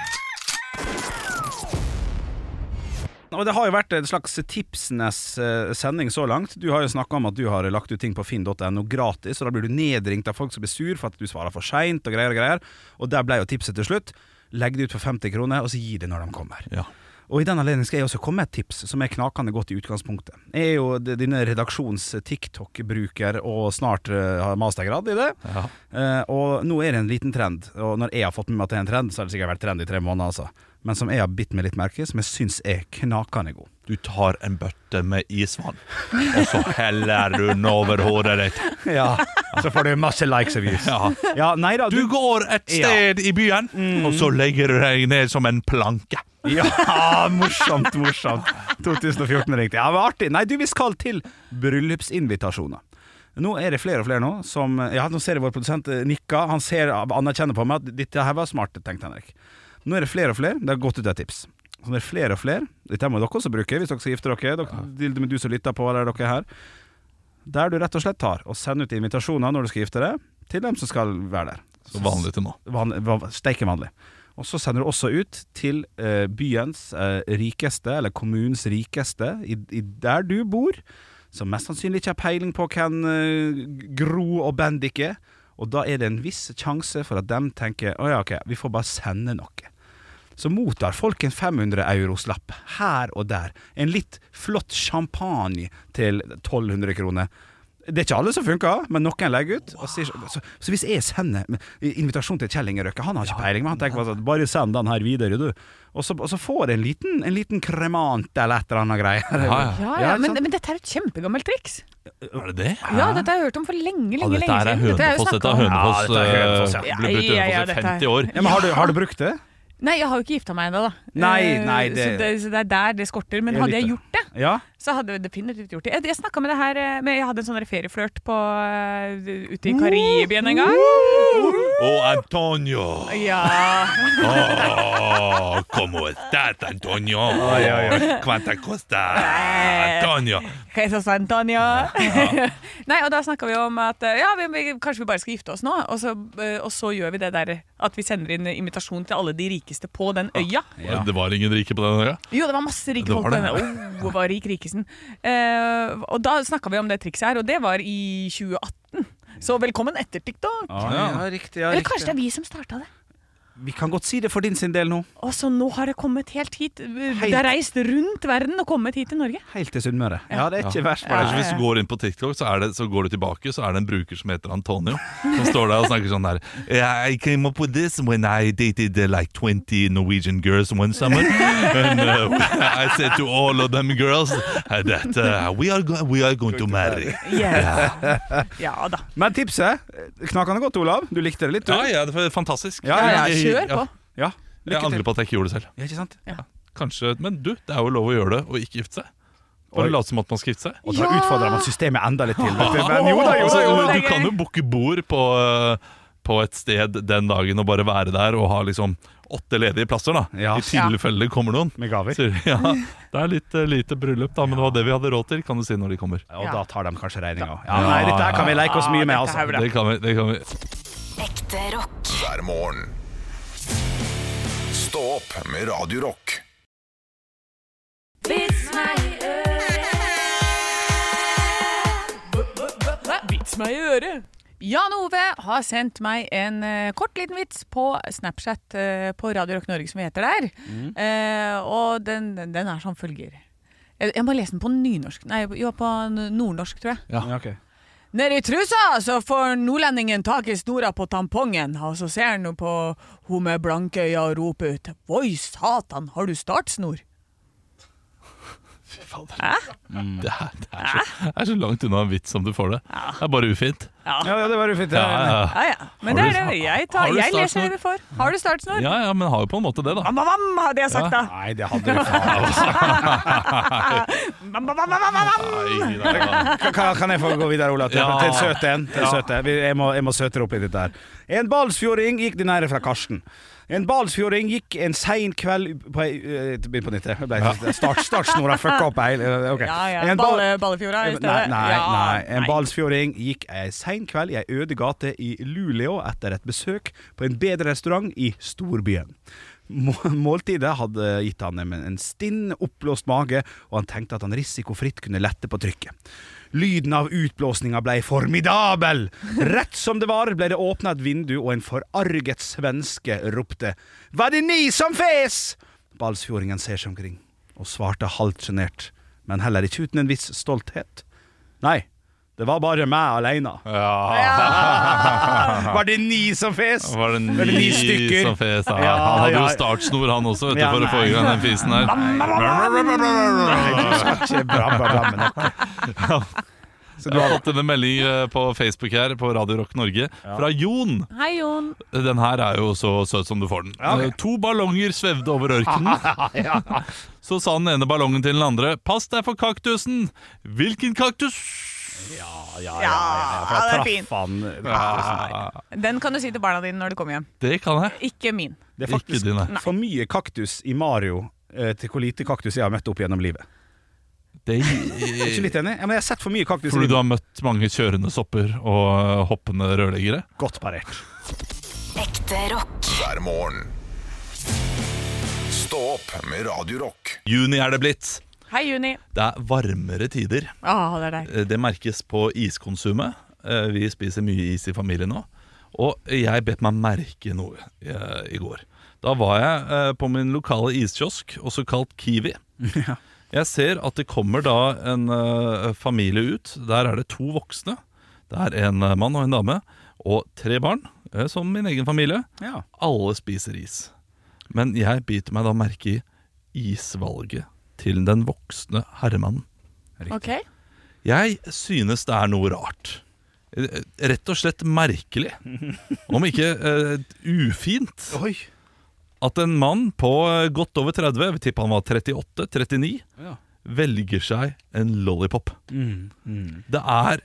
S4: Og det har jo vært en slags tipsenes eh, sending så langt. Du har jo snakka om at du har lagt ut ting på finn.no gratis, og da blir du nedringt av folk som blir sur for at du svarer for seint og greier og greier. Og der ble jo tipset til slutt. Legg det ut for 50 kroner, og så gi det når de kommer.
S5: Ja.
S4: Og i den anledning skal jeg også komme med et tips som er knakende godt i utgangspunktet. Jeg er jo d- dine redaksjons-TikTok-bruker og snart eh, har mastergrad i det.
S5: Ja.
S4: Eh, og nå er det en liten trend, og når jeg har fått med meg at det er en trend, så har det sikkert vært trend i tre måneder, altså. Men som jeg har bitt meg litt merke i, som jeg syns er knakende god.
S5: Du tar en bøtte med isvann, og så heller du den over hodet ditt.
S4: Ja, så får du masse likes og views.
S5: Ja.
S4: Ja, nei da,
S5: Du Mm.
S4: du
S5: går et sted i byen, og så legger du deg ned som en planke.
S4: Ja, morsomt, morsomt. 2014 ringte. Ja, men artig. Nei, du, vi skal til bryllupsinvitasjoner. Nå er det flere og flere nå som Ja, nå ser jeg vår produsent eh, nikke. Han ser, anerkjenner på meg at dette her var smart, tenkte Henrik. Nå er det flere og flere. Det har gått ut et tips. Så det er flere og flere. Dette må dere også bruke hvis dere skal gifte dere. dere til og med du som lytter på, eller dere her. Der du rett og slett tar og sender ut invitasjoner når du skal gifte deg, til dem som skal være der.
S5: Så vanlig til nå.
S4: Vanlig- va- Steike vanlig. Og så sender du også ut til eh, byens eh, rikeste, eller kommunens rikeste, i, i der du bor, som mest sannsynlig ikke har peiling på hvem eh, Gro og Bendik er. Og da er det en viss sjanse for at de tenker å ja, ok, vi får bare sende noe. Så mottar folk en 500-euroslapp her og der. En litt flott champagne til 1200 kroner. Det er ikke alle som funker, men noen legger ut. Og sier, så, så hvis jeg sender invitasjon til Kjell Inge Røkke Han har ikke peiling, men han tenker bare sånn Bare send den her videre, du. Og så, og så får jeg en liten, en liten kremant eller et eller annet greier.
S5: Ja, ja.
S3: Ja,
S4: Ja,
S3: ja,
S4: ikke
S3: men,
S4: sant?
S3: men dette er et kjempegammelt triks.
S5: Er det det?
S3: Ja, dette har jeg hørt om for lenge,
S5: Ja,
S3: lenge,
S5: dette
S3: lenge
S5: her er
S3: siden.
S5: Hønefoss. Dette er Hønefoss.
S4: Ja, dette er Hønefoss, ja.
S5: eh, Ble brukt i
S3: Ja, ja, ja,
S5: Hønefoss i
S3: dette er-
S5: 50 år.
S4: Ja, men har du, har du brukt det?
S3: Nei, jeg har jo ikke gifta meg ennå, da.
S4: Nei,
S3: Eh,
S4: nei, det-
S3: Så, det, så det er der det skorter. Men
S4: Det er
S3: hadde jeg
S4: lite.
S3: gjort det,
S4: Ja?
S3: så hadde vi definitivt gjort det. Jeg, jeg snakka med det her eh, med, Jeg hadde en sånn der ferieflørt på, eh, ute i Karibien en gang.
S5: Oh, Antonio!
S3: Ja.
S5: Oh, como estás, Antonio? Quanta costa, Antonio?
S3: Jesus Antonio. Nei, og da snakka vi om at eh, ja, vi, vi, kanskje vi bare skal gifte oss nå. Og så, eh, og så gjør vi det der at vi sender inn invitasjon til alle de rikeste på den øya.
S4: Ja.
S5: Det var ingen rike på den øya?
S3: Jo, det var masse rike
S5: Det
S3: folk
S5: var
S3: på
S5: det.
S3: denne. Oh, det var rik rikesen. Eh, og da snakka vi om det trikset her, og det var i 2018. Så velkommen etter TikTok.
S4: Ah, ja, riktig, ja,
S3: Eller kanskje det
S4: riktig.
S3: er vi som starta det.
S4: Vi kan godt si det for din sin del nå.
S3: Og så nå har det kommet helt hit. Det har reist rundt verden og kommet hit til Norge.
S4: Helt til Sunnmøre. Ja, det er ikke verst.
S5: Ellers
S4: bare.
S5: Hvis du går inn på TikTok, så, er det, så går du tilbake, så er det en bruker som heter Antonio, som står der og snakker sånn der I came up with this when I dated uh, like 20 Norwegian girls one summer. And uh, I said to all of them girls that uh, we, are go we are going to marry.
S3: Ja. ja da.
S4: Men tipset knakende godt, Olav. Du likte det litt, du?
S5: Ja, ja, det var fantastisk.
S4: Ja, ja,
S3: ja, kjør på.
S4: Ja,
S5: Jeg
S4: lykke
S5: angrer
S4: til.
S5: på at jeg ikke gjorde det selv.
S4: Ja, ikke sant?
S5: Kanskje, Men du, det er jo lov å gjøre det og ikke gifte seg. Bare
S4: Oi.
S5: late som at man skal gifte seg.
S4: Og da utfordrer man systemet enda litt til. vet du. Men jo da, jo da,
S5: Altså,
S4: jo da.
S3: det er
S5: du kan
S3: gøy.
S5: jo booke bord på, eh, på et sted den dagen og bare være der og ha liksom åtte ledige plasser, da.
S4: Ja.
S5: I tilfelle det kommer noen.
S4: Med gaver.
S5: Så, ja, det er litt eh, lite bryllup, da, men det var det vi hadde råd til, kan du si når de kommer.
S4: Og da tar de kanskje regninga. Ja, nei, dette her kan vi leke oss
S3: Ja,
S4: mye med,
S3: dette her
S4: altså.
S3: blir
S5: Det kan vi, det kan vi.
S6: Ekte rock.
S2: hver morgen. Stå opp med Radio Rock.
S3: Vits meg i øret. Jan Ove har sendt meg en eh, kort liten vits på Snapchat eh, på Radio Rock Norge, som vi heter der.
S5: Mm.
S3: Eh, og den, den er som følger. Jeg, jeg må lese den på nynorsk. Nei, jo, på n- nordnorsk, tror jeg.
S4: Ja, ok.
S3: Nedi trusa så får nordlendingen tak i snora på tampongen, og så ser han på hun med blanke øyne og roper ut Voi satan, har du startsnor?
S5: Fy fader. Det, er, det, er så, det er så langt unna en vits som du får det. Det er bare ufint.
S4: Ja, ja, det var ufint.
S5: Ja,
S4: Ja, ja.
S5: ja,
S3: Ja ja, men
S5: Har
S3: det
S5: du-
S3: er det jeg
S5: har
S3: tar.
S5: du
S3: Jeg leser
S5: startsnor?
S3: det vi får. Har du startsnor?
S5: ja, ja, men har jo på en måte det, da.
S3: Mamma, mamma, hadde jeg sagt da.
S4: Nei, det hadde du faen.
S3: Mamma, mamma, mamma, mamma.
S5: Nei, nei, nei.
S4: Kan- Kan, kan jeg få gå videre, Olav? Til,
S5: Ja.
S4: til en søte en. Til en søte. Vi- Jeg, må, jeg må søtere opp i dette her. En balsfjording gikk Den her er fra Karsten. En balsfjording gikk en sein kveld på ei eh, Begynn på nytt. jeg. Jeg ble- Start, startsnora fucka opp hele ok.
S3: Ja, ja.
S4: En bal-
S3: Balle- Ballefjorda i stedet.
S4: Nei, nei,
S3: Ja,
S4: nei. En
S3: nei.
S4: balsfjording gikk ei sein kveld i ei øde gate i Luleå etter et besøk på en bedre restaurant i storbyen. Må- Måltidet hadde gitt han en, en stinn, oppblåst mage, og han tenkte at han risikofritt kunne lette på trykket. Lyden av utblåsninga ble formidabel! Rett som det var, ble det åpna et vindu, og en forarget svenske ropte 'Var det ni som fes?' Balsfjordingen ser seg omkring, og svarte halvt sjenert, men heller ikke uten en viss stolthet. Nei, det var bare meg aleine. Var det ni som fes?
S5: Var det
S4: Eller ni
S5: ni
S4: stykker.
S5: som fes? Ja,
S4: Ja,
S5: han hadde
S4: ja.
S5: jo startsnor, han også, vet du,
S4: Ja,
S5: for å få i gang den fisen her.
S4: Ikke bra, bra, bra, men ok. Så du
S5: Jeg har
S4: har
S5: fått en melding eh, på Facebook her på Radio Rock Norge fra Jon.
S3: Hei, Jon.
S5: Den her er jo så søt som du får den.
S4: ok.
S5: Eh, To ballonger svevde over ørkenen. Så sa den ene ballongen til den andre Pass deg for kaktusen! Hvilken kaktus?
S3: Ja, den er fin.
S4: Faen,
S3: Den kan du si til barna dine når du kommer hjem.
S5: Det kan jeg.
S3: Ikke min.
S4: det er
S5: Ikke
S4: faktisk
S5: dine.
S4: for mye kaktus i Mario eh, til hvor lite kaktus jeg har møtt opp gjennom livet.
S5: Det
S4: Jeg er ikke litt enig, ja, men jeg har sett for mye kaktus. i
S5: Fordi du
S4: livet.
S5: har møtt mange kjørende sopper og eh, hoppende rørleggere.
S4: Godt parert.
S6: Ekte rock.
S2: hver morgen. Stå opp med Radio Rock.
S5: Juni er det blitt.
S3: Hei, Juni.
S5: Det er varmere tider.
S3: Å, det er deg.
S5: Eh, Det merkes på iskonsumet. Eh, Vi spiser mye is i familien nå. Og jeg bet meg merke noe eh, i går. Da var jeg eh, på min lokale iskiosk, også kalt Kiwi. Jeg ser at det kommer da en eh, familie ut. Der er det to voksne. Det er en eh, mann og en dame og tre barn, eh, som min egen familie.
S4: Ja.
S5: Alle spiser is. Men jeg biter meg da merke i isvalget til den voksne herremannen.
S3: Ok.
S5: Jeg synes det er noe rart. Eh, Rett og slett merkelig. Om ikke eh, ufint.
S4: Oi.
S5: At en mann på eh, godt over 30, jeg vil tippe han var 38-39,
S4: Ja. Mm,
S5: velger seg en lollipop. Det er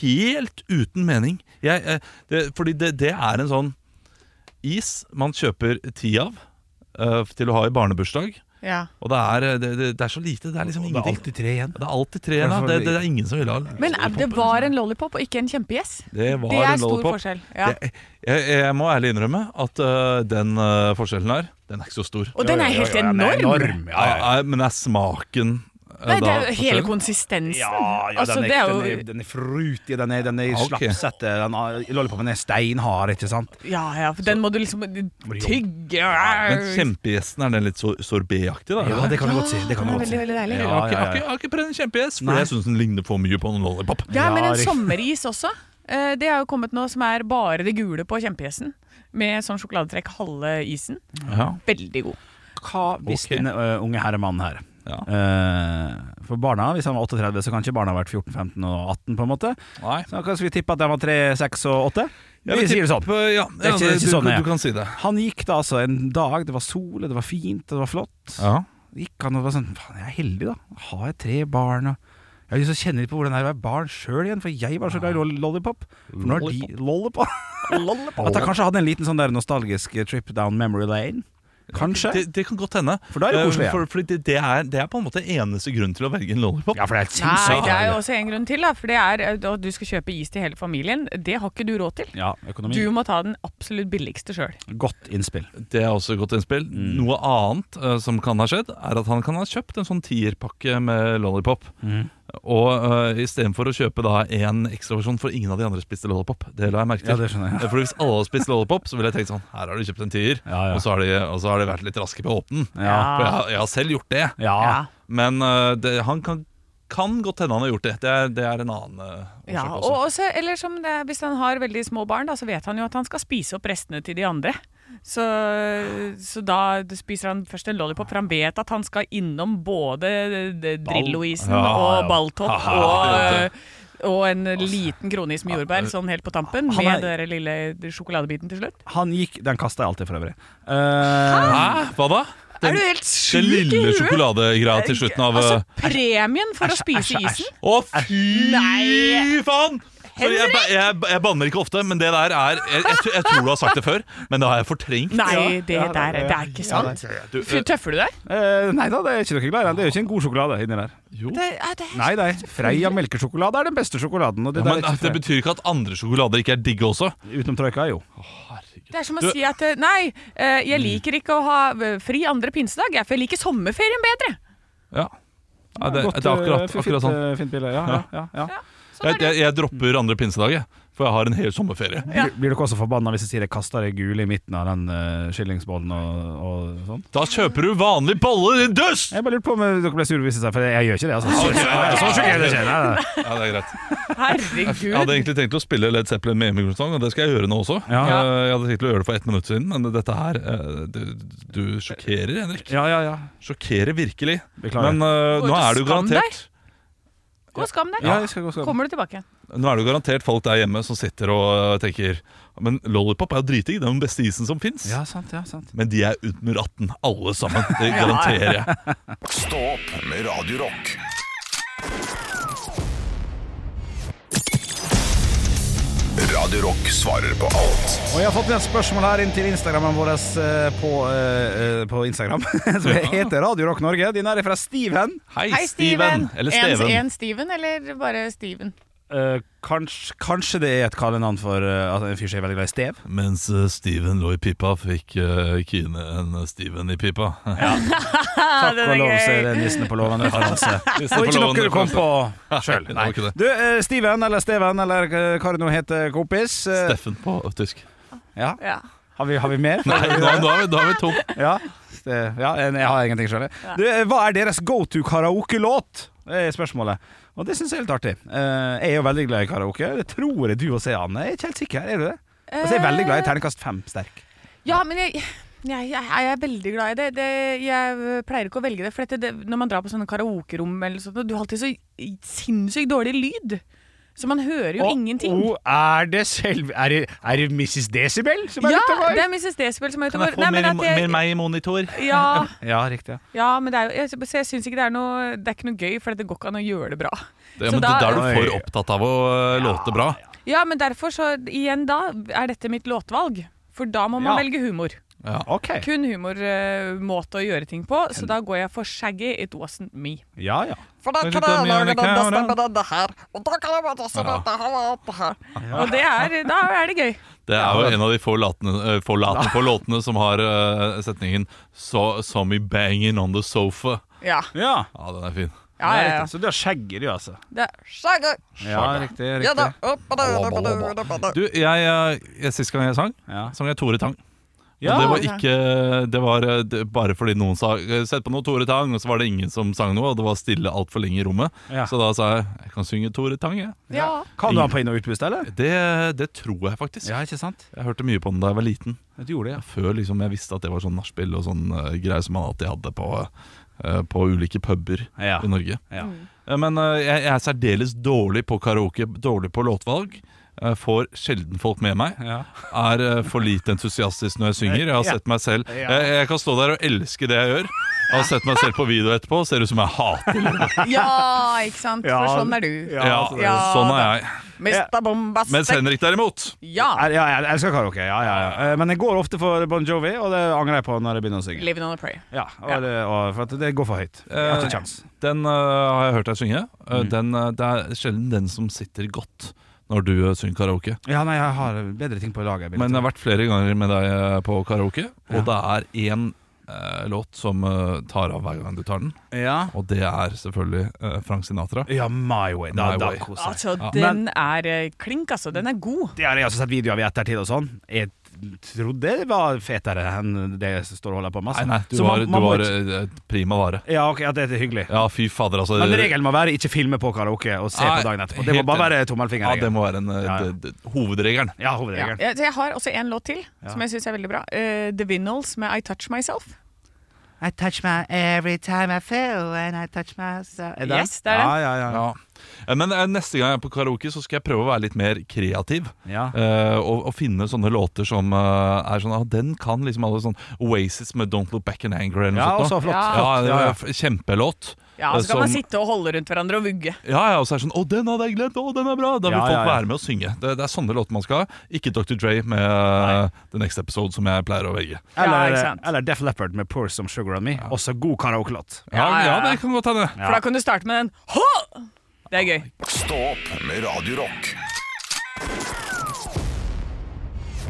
S5: helt uten mening. Jeg, eh, det, fordi det, det er en sånn is man kjøper ti av eh, til å ha i barnebursdag.
S3: Ja.
S5: Og det er, eh, det, det, det er så lite. Det er liksom
S4: Det er
S5: ingenting.
S4: alltid tre igjen.
S5: Det er alltid tre igjen. da. Det, det er ingen som vil ha
S3: Men eh, det var en lollipop og ikke en kjempegjess.
S5: Det var
S3: Det er
S5: en
S3: stor
S5: lollipop.
S3: forskjell. Ja.
S5: Jeg, jeg, jeg må ærlig innrømme at øh, den øh, forskjellen her, den er ikke så stor.
S3: Og den er helt
S4: Ja, ja, den er
S3: enorm.
S4: enorm. Ja, ja, ja.
S5: Er- er- men er smaken øh,
S3: Nei, det
S5: da
S3: er jo hele
S5: forskjellen?
S3: konsistensen.
S4: Ja, ja
S3: altså,
S4: den, er,
S3: det er
S4: den, er,
S3: jo,
S4: den er fruity, den er, den er
S5: Ok.
S4: slapsete. Den er, lollipopen er steinhard, ikke sant?
S3: ja, ja, for den må du liksom tygge
S5: Men kjempegjesten, er den litt sor- sorbetaktig, da?
S4: Ja, det kan du godt si. Det kan
S3: den
S4: du
S3: er
S4: godt si.
S3: veldig, veldig deilig.
S5: Jeg
S4: Ja,
S5: har
S4: ja,
S5: ikke, jeg har
S4: ja.
S5: ikke, jeg har ikke prøvd en kjempegjest,
S4: Nei.
S5: for jeg syns den ligner for mye på en lollipop.
S3: Ja, men
S4: Ja,
S3: en
S4: riktig.
S3: sommeris også. Eh, Det er jo kommet noe som er bare det gule på kjempegjessen. Med sånn sjokoladetrekk halve isen.
S5: Ja.
S3: Veldig god.
S4: Hva hvis
S5: Ok.
S4: den ø, unge herremannen her
S5: Ja.
S4: Eh, For barna, hvis han var 38, så kan ikke barna ha vært 14, 15 og 18, på en måte.
S5: Nei.
S4: Så kanskje vi tipper at de var 3, 6 og 8?
S5: Jeg
S4: vi
S5: vil
S4: sier det
S5: tippe-
S4: sånn.
S5: eh, Ja,
S4: er
S5: ja,
S4: ikke-
S5: det,
S4: ikke
S5: du,
S4: sånn
S5: du,
S4: jeg er.
S5: du kan si det.
S4: Han gikk da altså en dag, det var sol, og det var fint, og det var flott. Gikk han og var sånn Faen, jeg er heldig, da. Har jeg tre barn? og jeg har lyst til å kjenne litt på hvordan det er å være barn sjøl igjen, for jeg var så glad i
S5: Ah.
S4: lo- lollipop. For nå er de lollipop. At jeg kanskje hadde en liten sånn der nostalgisk trip down memory lane. Kanskje.
S5: Det, det kan godt hende.
S4: For da er det
S5: Eh,
S4: koselig, ja.
S5: For, fordi det, det, er, det er på en måte eneste grunn til å velge en lollipop.
S4: Ja, for det er helt
S3: Nei,
S4: sinnssykt.
S3: det er jo også en grunn til, da. For det er eh, at du skal kjøpe is til hele familien. Det har ikke du råd til.
S4: Ja, økonomi.
S3: Du må ta den absolutt billigste sjøl.
S4: Godt innspill.
S5: Det er også et godt innspill.
S4: Mm.
S5: Noe annet eh, som kan ha skjedd, er at han kan ha kjøpt en sånn tierpakke med lollipop.
S4: Mm.
S5: Og uh, istedenfor å kjøpe da en ekstraversjon, for ingen av de andre spiste lollipop. Det la jeg merke til.
S4: Ja, det skjønner jeg.
S5: Eh, For hvis alle hadde spist lollipop, så ville jeg tenkt sånn Her har du kjøpt en tier,
S4: Ja, ja.
S5: Og, så har de, og så har de vært litt raske på å åpne den.
S4: Ja.
S5: For jeg, har- jeg har selv gjort det.
S4: Ja.
S3: Ja.
S5: Men eh, det, han kan, kan godt hende han har gjort det. Det er, det er en annen eh, årsak
S3: Ja,
S5: også.
S3: og også, eller som det, er, Hvis han har veldig små barn, da, så vet han jo at han skal spise opp restene til de andre. Så, så da spiser han først en lollipop, for han vet at han skal innom både eh, Drillo-isen
S5: Ja, ja.
S3: og balltopp
S5: Haha,
S3: og,
S5: det
S3: eh, og en liten kronis med jordbær sånn helt på tampen,
S4: Han
S3: med
S4: er-
S3: den der lille sjokoladebiten til slutt.
S4: Han gikk Den kasta jeg alltid, for øvrig. Eh,
S5: Hæ? Hva da?
S3: er du helt
S5: Den
S3: sjuk i
S5: lille
S3: huet?
S5: sjokoladegreia til slutten av
S3: Altså,
S5: eh,
S3: premien for å spise
S4: æsj, æsj.
S3: isen?
S5: Å, fy
S3: Nei.
S5: faen! Så jeg,
S3: Henrik!
S5: ba- jeg, ba- jeg banner ikke ofte, men det der er Jeg, jeg, tr- jeg tror du har sagt det før, men det har jeg fortrengt.
S3: Nei, det
S4: ja,
S3: der
S4: ja,
S3: det er ikke sant.
S5: Du,
S3: Fy,
S5: eh,
S3: Tøffer du deg?
S4: eh, nei da, det er ikke noe glad i den. Det er jo ikke en god sjokolade inni der.
S3: Det, er det
S4: Nei, nei. Freia melkesjokolade er den beste sjokoladen. Og det
S5: ja,
S4: der
S5: men altså,
S4: er ikke
S5: det
S4: Freia.
S5: betyr ikke at andre sjokolader ikke er digge også.
S4: Utenom troika, jo.
S3: Det er som å
S5: Du-
S3: si at eh, nei, eh,
S4: Mm.
S3: jeg liker ikke å ha eh, fri andre pinsedag, jeg, for jeg liker sommerferien bedre.
S5: Ja, ja det,
S4: Godt,
S5: det er
S4: eh,
S5: akkurat,
S4: fint,
S5: akkurat sånn.
S4: eh, Fint bilde. Ja, ja, ja, ja.
S3: Sånn
S5: Jeg,
S3: er det.
S5: jeg, jeg dropper andre pinsedag, jeg, for jeg har en hel sommerferie.
S4: Blir- Blir dere også forbanna hvis jeg sier jeg kasta det gule i midten av den uh, skillingsbollen og, og sånn?
S5: Da kjøper du vanlige boller, din dust!
S4: Jeg bare lurte på om eh, dere ble sure hvis jeg sa For jeg gjør ikke det, altså. Så, så, så, så, så,
S5: Ja, det er greit. Jeg hadde
S3: Herregud.
S5: egentlig tenkt å spille Led Zeppelin med Immigrant-sang, og det skal jeg gjøre nå også.
S4: Ja.
S5: Eh, Jeg hadde tenkt å gjøre det for ett minutt siden, men dette her eh, Du, du sjokkerer, Henrik.
S4: ja, ja, ja.
S5: Sjokkerer virkelig.
S4: Beklager.
S5: Men øh,
S3: Går
S5: nå
S3: ut og
S5: er det jo
S3: skam deg.
S5: garantert
S3: Gå og skam deg.
S4: ja, jeg skal gå og skam.
S3: Kommer du tilbake igjen?
S5: Nå er det jo garantert folk der hjemme som sitter og øh, tenker Men lollipop er jo dritdigg, det er den beste isen som fins.
S4: Ja, sant, ja, sant.
S5: Men de er under 18, alle sammen. Det garanterer jeg.
S2: Stå opp med Radio Rock. Radio Rock svarer på alt
S4: Og jeg har fått et spørsmål her inn til Instagrammen vår eh, på, eh, eh, på Instagram, som heter Radio Rock Norge. Din er fra Steven.
S5: Hei, Steven! Eller
S3: En,
S5: Steven.
S3: en Steven, eller bare Steven?
S4: Eh, kanskje, det er et kallenavn for eh, at en fyr som er veldig glad i stev?
S5: Mens øh, Steven lå i pipa, fikk øh, Kine en øh, Steven i pipa.
S4: Takk
S3: den er
S4: og lov, så er
S3: gøy.
S4: det nissene på låven. referanse. Og
S5: Hvis jeg får
S4: ikke
S5: lov å
S4: noe du kom på
S5: Nei,
S4: sjøl.
S5: det var ikke det.
S4: Du, eh, Steven eller Steven eller eh, hva det nå heter, kompis. eh,
S5: Steffen på tysk.
S4: ja.
S3: Ja.
S4: har, vi, har vi mer?
S5: Nei, nå, nå er vi, da er vi tom.
S4: Ja, det, ja en- jeg har ingenting sjøl. Du, eh, Hva er deres go to karaoke-låt? Det er spørsmålet. Og det syns jeg er litt artig. Eh, jeg er jo veldig glad i karaoke. Det tror jeg du også er, Anne. Jeg er ikke helt sikker. Er du det? Altså, jeg er veldig glad i terningkast fem sterk.
S3: Eh, Ja, men jeg, jeg, jeg, jeg er veldig glad i det. det. Jeg pleier ikke å velge det. For dette, det, når man drar på sånne karaokerom, eller sånt, du har alltid så sinnssykt dårlig lyd. Så man hører jo
S4: Og-
S3: ingenting.
S4: og er det selv... Er det, er det Mrs. Decibel som er
S3: ja,
S4: ute og går?
S3: det er Mrs. Decibel som er
S5: Kan
S3: utover.
S5: jeg få
S3: Nei, men
S5: mer,
S3: at jeg-
S5: mer meg i monitor?
S3: Ja,
S4: Ja, riktig.
S3: ja, men det er jo jeg, så jeg syns ikke det er noe Det er ikke noe gøy, for det går ikke an å gjøre det bra.
S5: Ja,
S3: Så
S5: men
S3: da-
S5: da er du
S4: Oi.
S5: for opptatt av å eh, låte bra.
S3: Ja, men derfor så Igjen da er dette mitt låtvalg. For da må man
S4: Ja.
S3: velge humor.
S4: Ok.
S3: Kun humormåte å gjøre ting på, så da går jeg for Shaggy It Wasn't Me.
S4: Ja, ja.
S8: For da
S5: Kanskje
S8: kan jeg
S5: Damian
S8: lage
S5: Leclerc
S8: denne
S5: har
S8: stemmen denne her, og da kan jeg bare si dette her og dette her.
S3: Og det er, da er det gøy.
S5: Det er jo en av de få, latene, eh, få, latene, få låtene som har eh, setningen so, 'Some banging on the sofa'.
S3: Ja,
S4: Ja,
S5: Ja, den er fin.
S3: ja, ja,
S4: det er
S3: ja.
S4: riktig. Så du har skjegger, du, altså?
S3: Det er,
S8: Skjegget.
S4: Ja, riktig.
S8: Ja da.
S4: riktig.
S8: Opp og ned, opp og ned, opp og ned.
S5: Du, jeg, eh, jeg, Sist gang jeg sang,
S4: Ja.
S5: sang jeg Tore Tang.
S4: Ja,
S5: Men det var ikke Det var eh, det, bare fordi noen sa eh, 'sett på noe Tore Tang', og så var det ingen som sang noe, og det var stille altfor lenge i rommet.
S4: Ja.
S5: Så da sa jeg 'jeg kan synge Tore Tang', jeg.
S3: ja.
S4: Kan du ha på inn- og utpust, eller?
S5: Det, det tror jeg faktisk.
S4: ikke sant?
S5: Jeg hørte mye på den da jeg var liten.
S4: Du gjorde det, ja.
S5: Før liksom jeg visste at det var sånn nachspiel og sånn eh, greier som man alltid hadde på, eh, på ulike puber
S4: Ja.
S5: i Norge.
S4: Ja.
S5: Eh, Men eh, jeg, jeg er særdeles dårlig på karaoke, dårlig på låtvalg. Eh, Får sjelden folk med meg.
S4: Ja.
S5: Er eh, for lite entusiastisk når jeg synger. Jeg har
S4: Ja.
S5: sett meg selv
S4: Ja.
S5: jeg, jeg kan stå der og elske det jeg gjør. Jeg har sett meg selv på video etterpå, ser ut som jeg hater det.
S3: ja, ikke sant? For
S4: Ja.
S3: sånn er du.
S4: Ja.
S5: Ja,
S4: altså,
S3: Ja,
S5: sånn er jeg.
S8: Mr.
S5: Mens
S8: Bombastic.
S5: Henrik derimot
S3: Ja.
S4: Ja, ja, jeg elsker karaoke. Ja, ja, ja. Eh, Men jeg går ofte for Bon Jovi, og det angrer jeg på når jeg begynner å synge.
S3: Living on a prayer.
S4: Ja, og det, og for at det går for høyt. Jeg har ikke kjangs.
S5: Den øh, har jeg hørt deg synge. Øh,
S4: Mm.
S5: den, øh, det er sjelden den som sitter godt når du øh, synger karaoke.
S4: Ja, nei, jeg har bedre ting på laget. vil jeg
S5: Men
S4: tro.
S5: jeg har vært flere ganger med deg øh, på karaoke, og det er én øh, låt som øh, tar av hver gang du tar den,
S4: ja.
S5: og det er selvfølgelig øh, Frank Sinatra.
S4: ja, My Way. Da,
S5: My
S4: da
S5: Way.
S4: koser jeg.
S3: Altså, den er eh, klink, altså. Den er god.
S4: Det har jeg også sett videoer av i ettertid og sånn. Jeg trodde det var fetere enn det som står og holder på med.
S5: Nei,
S4: altså.
S5: nei, du
S4: Så man-
S5: var, du
S4: man må
S5: var
S4: ikke-
S5: øh, prima vare.
S4: Ja, ok, at det er hyggelig.
S5: Ja, fy fader, altså.
S4: Men regelen må være ikke filme på karaoke og se
S5: Nei,
S4: på dagen etterpå. Det må
S5: helt
S4: bare være
S5: enig.
S4: tommelfingeren.
S5: Ja, det må være en, øh,
S4: Ja, ja.
S5: d- d- hovedregelen.
S4: Ja,
S3: Ja.
S4: hovedregelen.
S3: Jeg, jeg har også en låt til som jeg syns er veldig bra. Eh, The Vinyls med I Touch Myself.
S9: I touch my every time I feel and I touch myself. Er det den?
S3: Yes, det er den.
S4: ja, ja.
S5: Ja. Eh, Men eh, neste gang jeg er på karaoke, så skal jeg prøve å være litt mer kreativ.
S4: Ja.
S5: Eh, og, og finne sånne låter som eh, er sånn ah, Den kan liksom alle sånn Oasis med 'Don't Look Back in Anger' eller noe
S4: Ja,
S5: sånt.
S4: også flott.
S5: da.
S4: flott.
S5: Ja, det var
S4: ja.
S5: f- Kjempelåt.
S3: Ja,
S5: eh,
S3: Så kan man
S5: som-
S3: sitte og holde rundt hverandre og vugge.
S5: Ja, ja, og så er det sånn 'Å, den hadde jeg glemt! Å, den er bra!' Da vil
S4: Ja,
S5: folk
S4: ja, ja.
S5: være med og synge. Det, det er sånne låter man skal ha. Ikke Dr. Dre med eh, The Next Episode, som jeg pleier å velge.
S3: Ja,
S4: Eller,
S3: ikke sant.
S4: eller Def Leppard med 'Pour Some Sugar On Me'. Også god karaoke-låt.
S5: Ja,
S3: Ja, ja,
S5: ja,
S3: ja.
S5: det kan godt hende.
S3: For da kan du starte med den. Hå! Det er gøy.
S2: Stå opp med Radio Rock.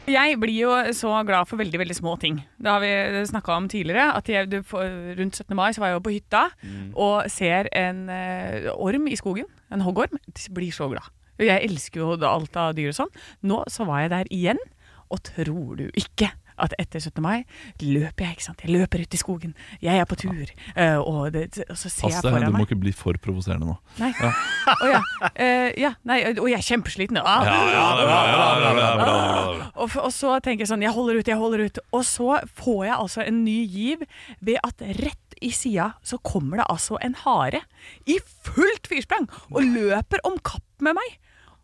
S3: Jeg blir jo så glad for veldig veldig små ting. Det har vi snakka om tidligere. At jeg, du, får- rundt 17. mai så var jeg jo på hytta
S5: Mm.
S3: og ser en eh, orm i skogen. En hoggorm. Jeg Blir så glad. Jeg elsker jo alt av dyr og sånn. Nå så var jeg der igjen, og tror du ikke at etter 17. mai løper jeg, ikke sant. Jeg løper ut i skogen. Jeg er på tur. eh, og, det, og så ser
S5: Pass
S3: jeg
S5: deg,
S3: foran
S5: du må
S3: meg.
S5: ikke bli for provoserende nå.
S3: Nei. Å ja. Eh, ja. Nei, og jeg er kjempesliten. Ah. Og, f- og så tenker jeg sånn, jeg holder ut, jeg holder ut. Og så får jeg altså en ny giv ved at rett i sida så kommer det altså en hare i fullt firsprang og løper om kapp med meg.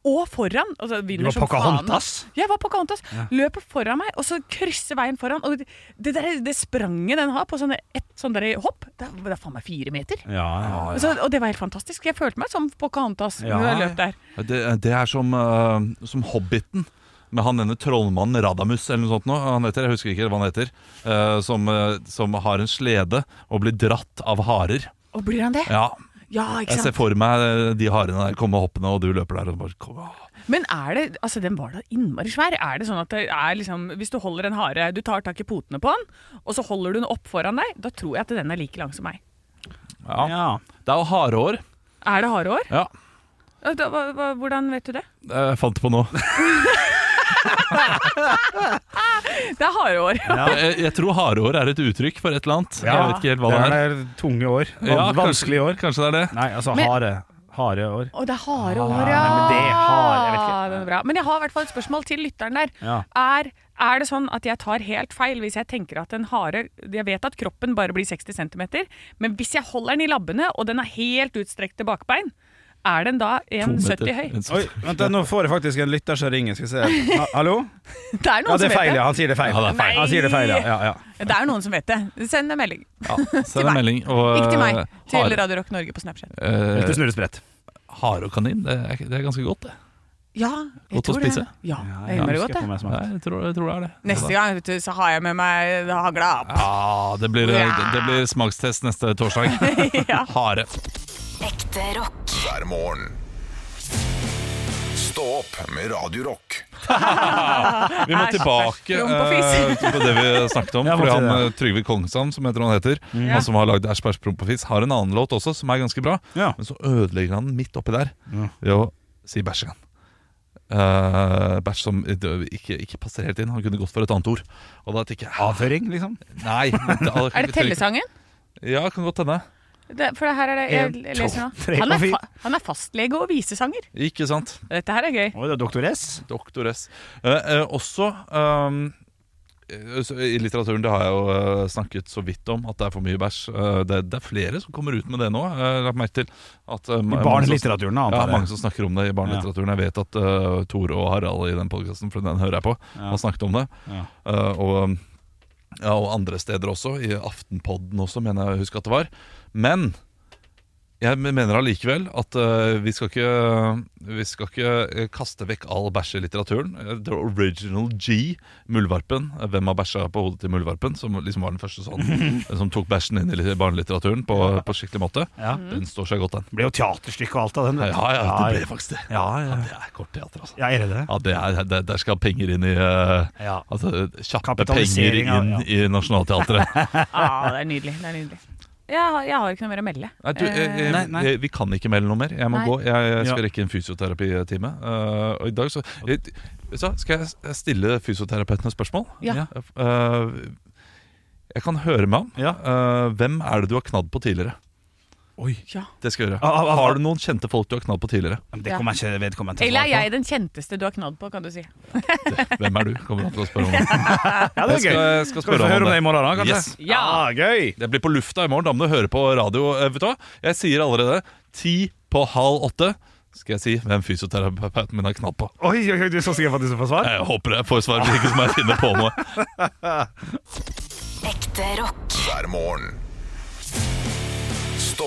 S3: Og foran. Altså,
S4: Du var Pocahontas?
S3: Jeg var Pocahontas. Løper foran meg, og så krysser veien foran. Og det, det, der, det spranget den har på sånne, et sånt der hopp, det er, det er faen meg fire meter.
S4: Ja, ja.
S3: Så, og det var helt fantastisk. Jeg følte meg som Pocahontas
S4: Ja.
S3: når jeg løp der.
S5: Det, det er som, eh, som Hobbiten. Med han ene trollmannen Radamus eller noe sånt nå, han heter, jeg husker ikke hva han heter, eh, som, eh, som har en slede og blir dratt av harer.
S3: Og blir han det? Ja,
S5: Ja,
S3: ikke
S5: Jeg ser
S3: sant?
S5: for meg eh, de harene der komme hoppende, og du løper der og bare kom, ah.
S3: Men er det, altså den var da innmari svær. Er det sånn at det er liksom Hvis du holder en hare, du tar tak i potene på den, og så holder du den opp foran deg, da tror jeg at den er like lang som meg.
S5: ja. Det er jo harehår.
S3: Er det harehår?
S5: Ja.
S3: Ja, da- hva- hva- Hvordan vet du det?
S5: Jeg fant det på nå.
S3: Det er harehår.
S5: Jeg, jeg tror harehår er et uttrykk for et eller annet.
S4: Ja.
S5: Jeg vet ikke helt hva
S4: Det
S5: det er.
S4: er tunge år. Van-
S5: Ja, kanskje-
S4: Vanskelige år.
S5: Kanskje det er det.
S4: Nei, altså
S3: Men-
S4: harde, harde år.
S3: Å, det er harehår, ja!
S4: Ah, nei, men det er hare, jeg vet ikke.
S3: Den er bra. Men jeg har i hvert fall et spørsmål til lytteren der.
S4: Ja.
S3: Er, er det sånn at jeg tar helt feil hvis jeg tenker at en hare Jeg vet at kroppen bare blir 60 cm, men hvis jeg holder den i labbene, og den er helt utstrekt til bakbein, er den da
S5: meter.
S3: 1,70 høy?
S5: En
S4: Oi,
S5: sytti-
S4: vent da, Nå får jeg faktisk en lytter som ringer. Skal vi se. Ha, hallo?
S3: Det er noen
S4: Ja, det
S3: som
S4: er feil,
S3: vet
S4: ja. Han sier det er feil.
S5: Ja, det er feil.
S4: Han sier det er feil, ja. ja, ja.
S3: det. Det er noen som vet det. Send en melding.
S5: Ja,
S3: Til
S5: send en
S3: meg.
S5: melding. Og,
S3: Ikke
S4: Eh,
S3: til meg, til
S5: hare,
S3: Radio Rock Norge på Snapchat.
S5: eh,
S4: Litt snurresprett.
S5: hare og kanin, det er, det er ganske godt, det.
S3: Ja, jeg
S5: Godt å
S3: tror det.
S5: spise.
S3: Ja, det er innmari
S4: husker
S3: godt,
S4: på
S3: det.
S4: meg
S5: Ja,
S4: smak.
S5: jeg, tror, jeg tror det er det.
S3: Neste gang vet du, så har jeg med meg hagla.
S5: Ja, Ah, det blir, eh, det blir smakstest neste torsdag.
S3: Ja.
S5: Hare.
S6: Ekte rock.
S2: hver morgen. Stå opp med Radio Rock.
S5: Vi må
S3: Æsj,
S5: tilbake
S3: æsj. Rom på fis.
S5: eh, på det vi snakket om.
S4: Ja,
S5: Fordi
S4: må si
S5: han
S4: det.
S5: eh, Trygve Kongshamn, som jeg tror han heter,
S3: Mm.
S5: han som har lagd Æsj, bæsj, promp og fis, har en annen låt også som er ganske bra.
S4: Ja.
S5: Men så ødelegger han den midt oppi der ved å si bæsj igjen. Eh, bæsj som ikke, ikke passer helt inn. Han kunne gått for et annet ord. Og da tenker jeg
S4: Avføring, liksom?
S5: Nei. Det,
S3: Er det tellesangen?
S5: Ja, kan godt hende.
S3: Det, for det her er det jeg, jeg leser
S4: tre,
S3: nå. Han er,
S4: fire.
S3: fa han er fastlege og visesanger.
S5: Ikke sant.
S3: Dette her er gøy.
S4: Oi, det er doktor S.
S5: Doktor S. Eh, eh, også ehm, eh, så I litteraturen det har jeg jo eh, snakket så vidt om at det er for mye bæsj. Eh, det, det er flere som kommer ut med det nå. eh, Jeg har lagt merke til at eh, ma-
S4: I
S5: mange som-
S4: barnelitteraturen,
S5: Ja,
S4: antar
S5: mange
S4: jeg.
S5: som snakker om det i barnelitteraturen. Jeg vet at eh, Tore og Harald i den podkasten, for den hører jeg på,
S4: Ja.
S5: har snakket om det.
S4: Ja.
S5: Eh, og, ja, og andre steder også. I Aftenpodden også, mener jeg å huske at det var. Men jeg mener allikevel at eh, vi, skal ikke, vi skal ikke eh, kaste vekk all bæsj i litteraturen. Eh, The original G, Muldvarpen. eh, Hvem har bæsja på hodet til Muldvarpen? Som liksom var den første sånn eh, som tok bæsjen inn i litt- barnelitteraturen på, på skikkelig måte.
S4: Ja.
S5: Den står seg godt, den.
S4: Det ble jo teaterstykke og alt av den. vet du.
S5: Ja, ja, det ble faktisk det.
S4: Ja, ja.
S5: Det er kort teater, altså.
S4: ja er det det?
S5: Ja, det er, der, der skal penger inn i eh,
S4: Ja.
S5: Altså kjappe penger
S4: Kapitalisering
S5: inn
S4: av-
S5: i Nationaltheatret.
S3: Ah, det er nydelig. det er nydelig Jeg har, jeg har ikke noe mer å melde.
S5: Nei, du, jeg,
S3: Eh,
S5: jeg,
S4: Nei, nei.
S5: jeg- Vi kan ikke melde noe mer. Jeg må
S3: Nei.
S5: gå. Jeg, jeg skal
S4: Ja.
S5: rekke en fysioterapitime. Eh, og i dag så, jeg, så Skal jeg s- stille fysioterapeuten et spørsmål?
S3: Ja.
S5: Eh, jeg kan høre med ham.
S4: Ja.
S5: Eh, hvem er det du har knadd på tidligere?
S4: Oi.
S3: ja.
S5: Det skal jeg gjøre.
S4: Ah, ah, ah.
S5: Har du noen kjente folk du har knadd på tidligere?
S4: Men Det kommer jeg ikke vedkommende til å
S3: Eller er
S4: svare på.
S3: jeg den kjenteste du har knadd på, kan du si.
S5: Hvem er du? Kommer han til å spørre om det.
S4: Ja, det
S5: Jeg
S4: er gøy.
S5: skal, jeg skal
S4: Skal vi få
S5: spørre ham
S4: høre om det i
S5: om det.
S4: morgen, da? kanskje?
S5: Yes.
S3: Ja.
S4: Ah, gøy!
S5: Det blir på lufta i morgen. Da må du høre på radio. Eh, Vet du hva? Jeg sier allerede ti på halv åtte skal jeg si hvem fysioterapeuten min har knadd på.
S4: Oi, oi, oi, du er så sikker på at du skal få svar?
S5: Jeg håper jeg får svar, hvis ikke så må jeg finne på noe.
S6: Ekte rock.
S2: hver morgen. Stå